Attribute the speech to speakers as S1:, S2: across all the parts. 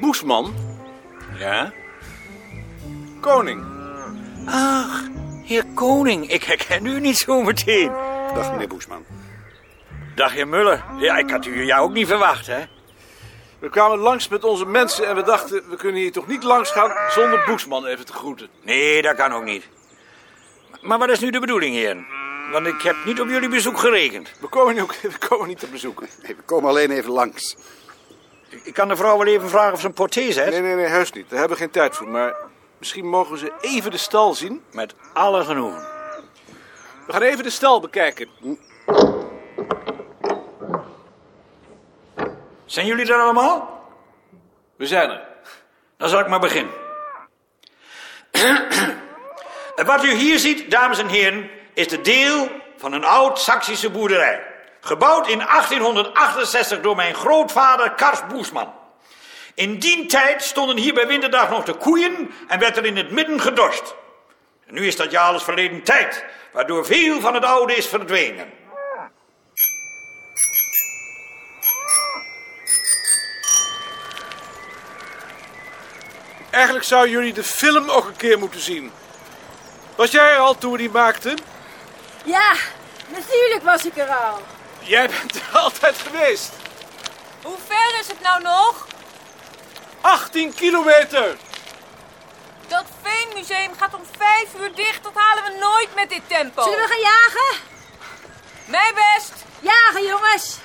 S1: Koosman?
S2: Ja? Koning.
S1: Ach, heer Koning, ik herken u niet zo meteen.
S3: Dag, meneer Boesman.
S1: Dag, heer Muller. Ja, ik had u jou ook niet verwacht, hè?
S2: We kwamen langs met onze mensen en we dachten, we kunnen hier toch niet langs gaan zonder Boesman even te groeten.
S1: Nee, dat kan ook niet. Maar wat is nu de bedoeling, heer? Want ik heb niet op jullie bezoek gerekend.
S2: We komen, ook, we komen niet te bezoeken.
S3: Nee, we komen alleen even langs.
S1: Ik kan de vrouw wel even vragen of ze een porté zet.
S2: Nee, nee, nee, heus niet. Daar hebben we geen tijd voor. Maar misschien mogen we ze even de stal zien.
S1: Met alle genoegen.
S2: We gaan even de stal bekijken.
S3: Hm,
S1: Zijn jullie er allemaal?
S2: We zijn er.
S1: Dan zal ik maar beginnen. Wat u hier ziet, dames en heren, is de deel van een oud Saksische boerderij. Gebouwd in 1868 door mijn grootvader Kars Boesman. In die tijd stonden hier bij winterdag nog de koeien en werd er in het midden gedorst. En nu is dat jaar alles verleden tijd, waardoor veel van het oude is verdwenen.
S2: Eigenlijk zouden jullie de film ook een keer moeten zien. Was jij er al toen we die maakten?
S4: Ja, natuurlijk was ik er al.
S2: Jij bent er altijd geweest.
S4: Hoe ver is het nou nog?
S2: 18 kilometer!
S4: Dat veenmuseum gaat om vijf uur dicht. Dat halen we nooit met dit tempo. Zullen we gaan jagen? Mijn best. Jagen, jongens.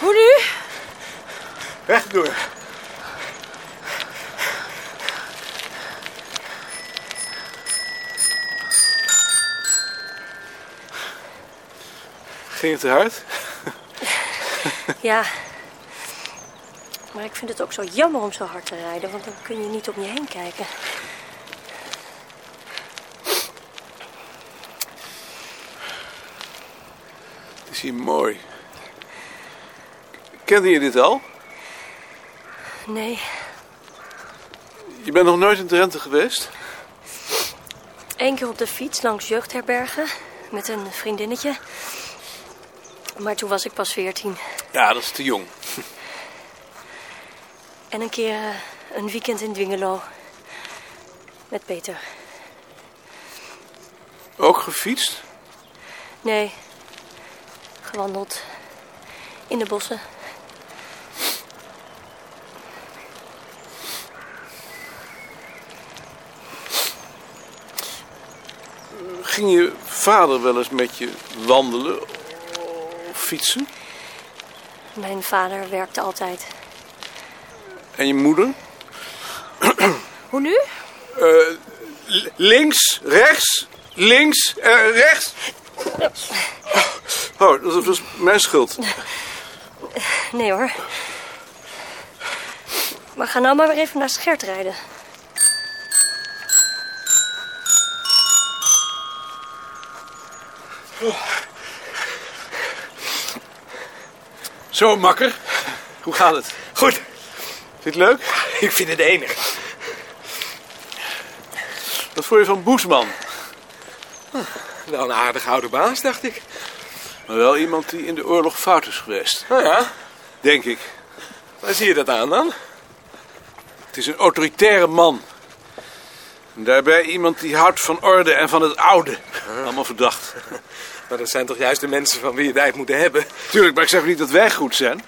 S4: Hoe nu?
S2: Rechtdoor. Ging het te hard?
S5: Ja. Maar ik vind het ook zo jammer om zo hard te rijden, want dan kun je niet om je heen kijken.
S2: Het is hier mooi. Kende je dit al?
S5: Nee,
S2: Je bent nog nooit in Drenthe geweest?
S5: één keer op de fiets langs jeugdherbergen met een vriendinnetje. Maar toen was ik pas veertien.
S2: Ja, dat is te jong.
S5: En een keer eh, een weekend in Dwingelo. Met Peter.
S2: Ook gefietst?
S5: Nee, gewandeld. In de bossen.
S2: Ging je vader wel eens met je wandelen of fietsen?
S5: Mijn vader werkte altijd.
S2: En je moeder?
S4: Hoe nu?
S2: Eh, links, rechts, links, eh, rechts. Oh, dat was mijn schuld.
S5: Nee hoor. Maar ga nou maar weer even naar Schert rijden.
S2: Zo, makker. Hoe gaat het?
S1: Goed,
S2: Vind je het leuk?
S1: ik vind het enig.
S2: Wat vond je van Boesman?
S6: Wel een aardig oude baas, dacht ik.
S2: Maar wel iemand die in de oorlog fout is geweest.
S6: Nou ja,
S2: Denk ik.
S6: waar zie je dat aan dan?
S2: Het is een autoritaire man. En daarbij iemand die houdt van orde en van het oude. Allemaal verdacht.
S6: Maar dat zijn toch juist de mensen van wie je tijd moet hebben?
S2: Tuurlijk, maar ik zeg niet dat wij goed zijn.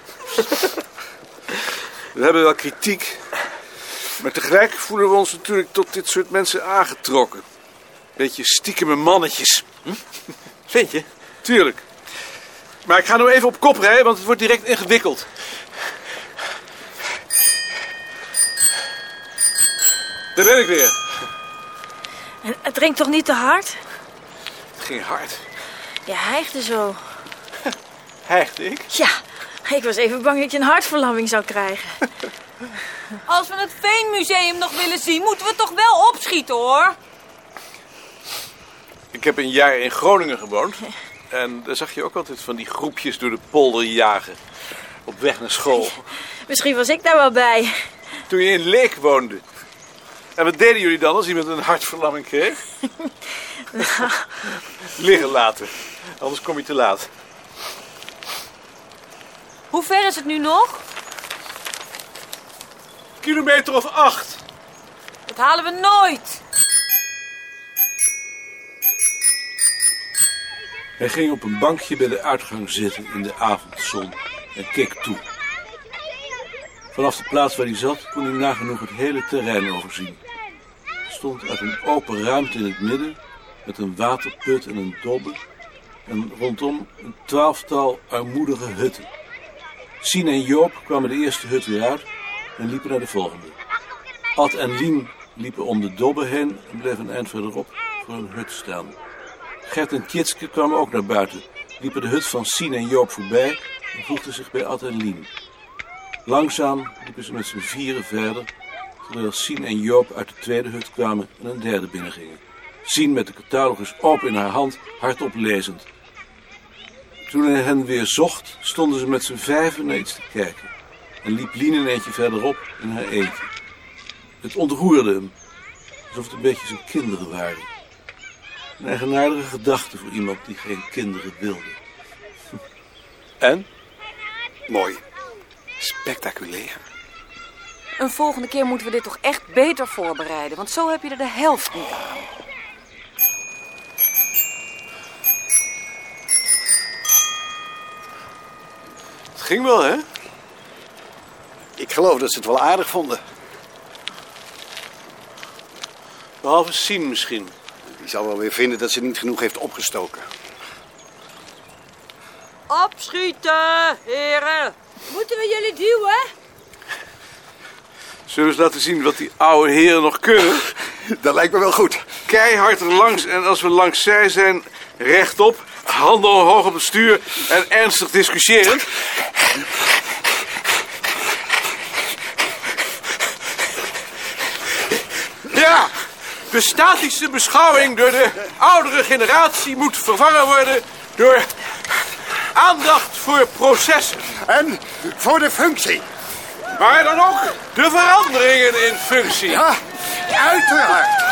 S2: We hebben wel kritiek. Maar tegelijk voelen we ons natuurlijk tot dit soort mensen aangetrokken. Beetje stiekeme mannetjes. Hm?
S6: Vind je?
S2: Tuurlijk. Maar ik ga nu even op kop rijden, want het wordt direct ingewikkeld. Daar ben ik weer.
S4: Het drinkt toch niet te hard?
S2: Het ging hard.
S4: Je hijgde zo.
S2: Hijgde ik?
S4: Ja, ik was even bang dat je een hartverlamming zou krijgen.
S7: Als we het Veenmuseum nog willen zien, moeten we toch wel opschieten hoor.
S2: Ik heb een jaar in Groningen gewoond. En daar zag je ook altijd van die groepjes door de polder jagen. Op weg naar school.
S4: Misschien was ik daar wel bij.
S2: Toen je in Leek woonde. En wat deden jullie dan als iemand een hartverlamming kreeg? Liggen laten.
S8: Anders kom je te laat.
S7: Hoe ver is het nu nog?
S8: Kilometer of acht.
S7: Dat halen we nooit.
S2: Hij ging op een bankje bij de uitgang zitten in de avondzon en keek toe. Vanaf de plaats waar hij zat kon hij nagenoeg het hele terrein overzien. Hij stond uit een open ruimte in het midden met een waterput en een dobbe en rondom een twaalftal armoedige hutten. Sien en Joop kwamen de eerste hut weer uit en liepen naar de volgende. Ad en Lien liepen om de dobbe heen en bleven een eind verderop voor een hut staan. Gert en Tjitske kwamen ook naar buiten, liepen de hut van Sien en Joop voorbij en voegden zich bij Ad en Lien. Langzaam liepen ze met z'n vieren verder, terwijl Sien en Joop uit de tweede hut kwamen en een derde binnengingen. Sien met de catalogus open in haar hand, hardop lezend. Toen hij hen weer zocht, stonden ze met z'n vijven naar iets te kijken. En liep Lien een eentje verderop in haar eentje. Het ontroerde hem, alsof het een beetje zijn kinderen waren. Een eigenaardige gedachte voor iemand die geen kinderen wilde. En?
S3: Mooi.
S6: Spectaculair.
S7: Een volgende keer moeten we dit toch echt beter voorbereiden. Want zo heb je er de helft niet aan.
S8: Het ging wel, hè?
S3: Ik geloof dat ze het wel aardig vonden.
S8: Behalve Sien misschien.
S3: Die zal wel weer vinden dat ze niet genoeg heeft opgestoken.
S7: Opschieten, heren.
S4: Moeten we jullie duwen?
S2: Zullen we eens laten zien wat die oude heren nog kunnen?
S3: Dat lijkt me wel goed.
S2: Keihard langs en als we langs zij zijn, rechtop, handen omhoog op het stuur en ernstig discussiëren. Ja, de statische beschouwing door de oudere generatie moet vervangen worden door aandacht voor processen.
S3: En voor de functie.
S2: Maar dan ook de veranderingen in functie.
S3: Ja, Ah, uiteraard.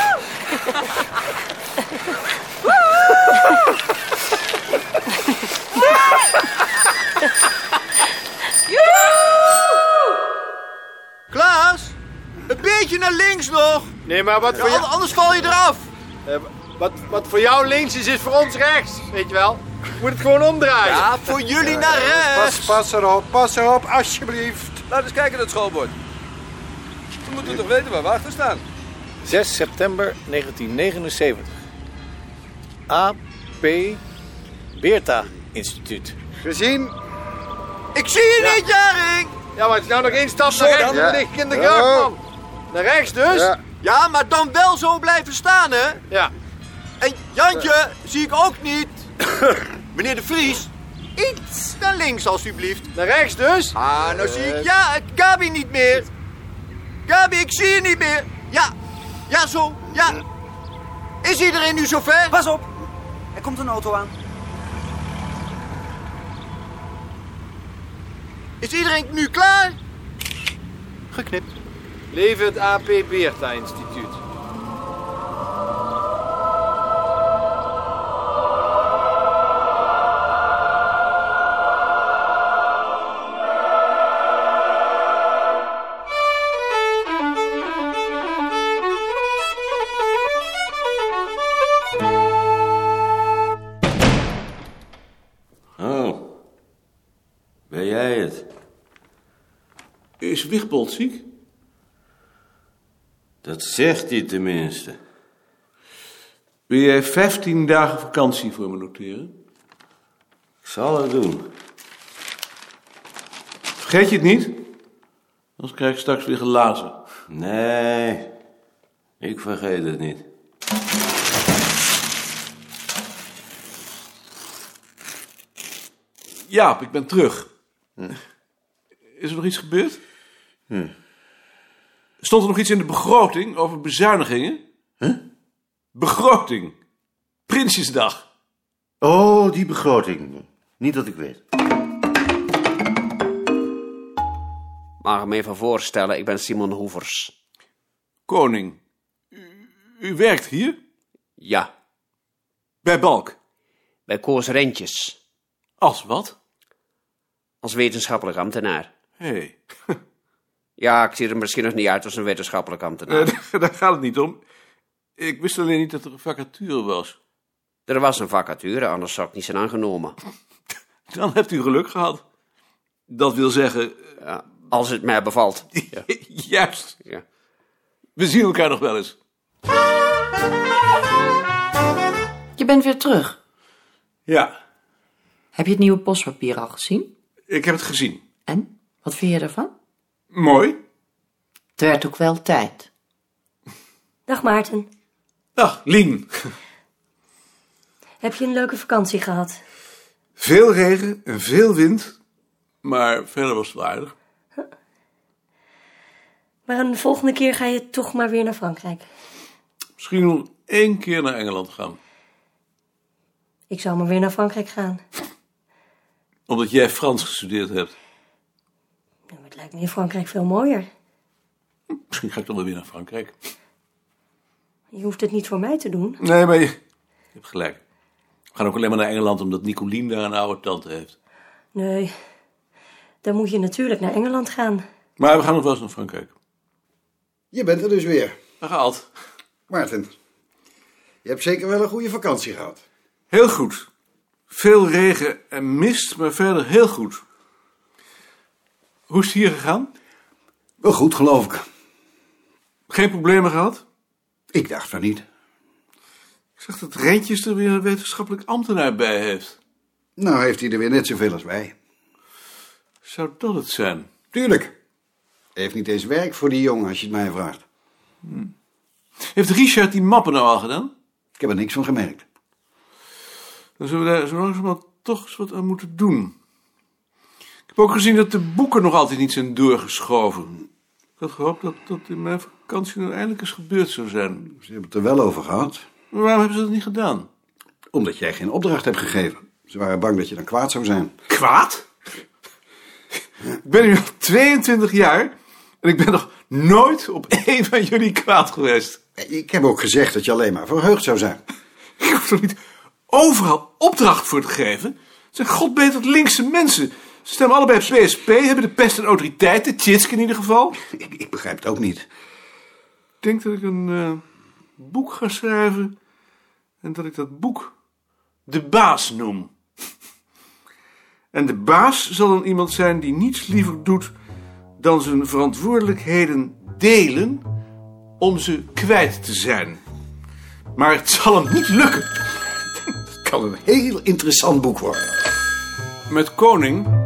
S9: Klaas, een beetje naar links nog.
S8: Nee, maar wat voor
S9: An-
S8: jou...
S9: Anders val je eraf.
S8: Wat, wat voor jou links is, is voor ons rechts. Weet je wel? Je moet het gewoon omdraaien.
S9: Ja, voor jullie naar rechts.
S3: pas erop, pas erop, alsjeblieft.
S9: Laat eens kijken naar het schoolbord. We moeten toch weten waar we achter staan.
S8: 6 september 1979. AP Beerta Instituut.
S3: Gezien.
S9: Ik zie je niet, Jaring.
S8: Ja, maar het is nou nog één stap naar rechts.
S3: Ja.
S8: Dan lig ik in de gracht, man. Naar rechts dus?
S3: Ja.
S9: Ja, maar dan wel zo blijven staan, hè.
S8: Ja.
S9: En Jantje zie ik ook niet. Meneer de Vries, iets naar links alsjeblieft.
S8: Naar rechts dus?
S9: Ah,
S10: Eh.
S9: nou zie ik ja, het Gabi niet meer. Gabi, ik zie je niet meer. Ja, ja zo, ja. Is iedereen nu zover?
S10: Pas op, er komt een auto aan.
S9: Is iedereen nu klaar?
S10: Geknipt.
S8: Leven het AP Beerta Instituut.
S11: Oh. Ben jij het?
S2: Is Wigbold ziek?
S11: Dat zegt hij tenminste.
S2: Wil jij 15 dagen vakantie voor me noteren?
S11: Ik zal het doen.
S2: Vergeet je het niet? Anders krijg ik straks weer glazen.
S11: Nee, ik vergeet het niet.
S2: Jaap, ik ben terug. Is er nog iets gebeurd? Stond er nog iets in de begroting over bezuinigingen? Begroting. Prinsjesdag.
S12: Oh, die begroting. Niet dat ik weet.
S13: Mag ik me even voorstellen, ik ben Simon Hoevers.
S2: Koning, u, u werkt hier?
S13: Ja,
S2: Bij Balk.
S1: bij Koos Rentjes.
S2: Als wat?
S1: Als wetenschappelijk ambtenaar.
S2: Hé, hey,
S1: Ja, ik zie er misschien nog niet uit als een wetenschappelijk ambtenaar.
S2: eh, daar- daar gaat het niet om. Ik wist alleen niet dat er een vacature was.
S1: Er was een vacature, anders zou ik niet zijn aangenomen.
S2: Dan hebt u geluk gehad. Dat wil zeggen...
S1: als het mij bevalt.
S2: Juist. We zien elkaar nog wel eens.
S14: Je bent weer terug.
S2: Ja,
S14: Heb je het nieuwe postpapier al gezien?
S2: ik heb het gezien.
S14: En? Wat vind je ervan?
S2: Mooi.
S14: Het werd ook wel tijd.
S5: Dag Maarten.
S2: Dag, Lien.
S5: Heb je een leuke vakantie gehad?
S2: Veel regen en veel wind. Maar verder was het aardig.
S5: Maar een volgende keer ga je toch maar weer naar Frankrijk.
S2: Misschien nog één keer naar Engeland gaan.
S5: Ik zou maar weer naar Frankrijk gaan.
S2: Omdat jij Frans gestudeerd hebt.
S5: Nou, Het lijkt me in Frankrijk veel mooier.
S2: Misschien ga ik dan wel weer naar Frankrijk.
S5: Je hoeft het niet voor mij te doen.
S2: Nee, maar je... je hebt gelijk. We gaan ook alleen maar naar Engeland omdat Nicolien daar een oude tante heeft.
S5: Nee, dan moet je natuurlijk naar Engeland gaan.
S2: Maar we gaan nog wel eens naar Frankrijk.
S15: Je bent er dus weer.
S2: Dag Alt.
S15: Maarten, je hebt zeker wel een goede vakantie gehad.
S2: Heel goed. Veel regen en mist, maar verder heel goed. Hoe is het hier gegaan?
S15: Wel goed, geloof ik.
S2: Geen problemen gehad?
S15: Ik dacht van niet.
S2: Ik zag dat Rentjes er weer een wetenschappelijk ambtenaar bij heeft.
S15: Nou heeft hij er weer net zoveel als wij.
S2: Zou dat het zijn?
S15: Tuurlijk. Hij heeft niet eens werk voor die jongen, als je het mij vraagt.
S2: Heeft Richard die mappen nou al gedaan?
S15: Ik heb er niks van gemerkt.
S2: Dan zullen we daar zo langzamerhand toch eens wat aan moeten doen. Ik heb ook gezien dat de boeken nog altijd niet zijn doorgeschoven. Ik had gehoopt dat dat in mijn vakantie nou eindelijk eens gebeurd zou zijn.
S15: Ze hebben het er wel over gehad.
S2: Maar waarom hebben ze dat niet gedaan?
S15: Omdat jij geen opdracht hebt gegeven. Ze waren bang dat je dan kwaad zou zijn.
S2: Kwaad? Ik ben nu al 22 jaar en ik ben nog nooit op één van jullie kwaad geweest.
S15: Ik heb ook gezegd dat je alleen maar verheugd zou zijn.
S2: Ik hoef toch niet overal opdracht voor te geven? Het zijn godbeterd linkse mensen. Ze stemmen allebei op PSP, hebben de pest en autoriteit, de Tjitsk in ieder geval.
S15: Ik, ik begrijp het ook niet.
S2: Ik denk dat ik een eh, boek ga schrijven en dat ik dat boek De Baas noem. En de baas zal dan iemand zijn die niets liever doet dan zijn verantwoordelijkheden delen om ze kwijt te zijn. Maar het zal hem niet lukken. Het
S15: kan een heel interessant boek worden.
S2: Met Koning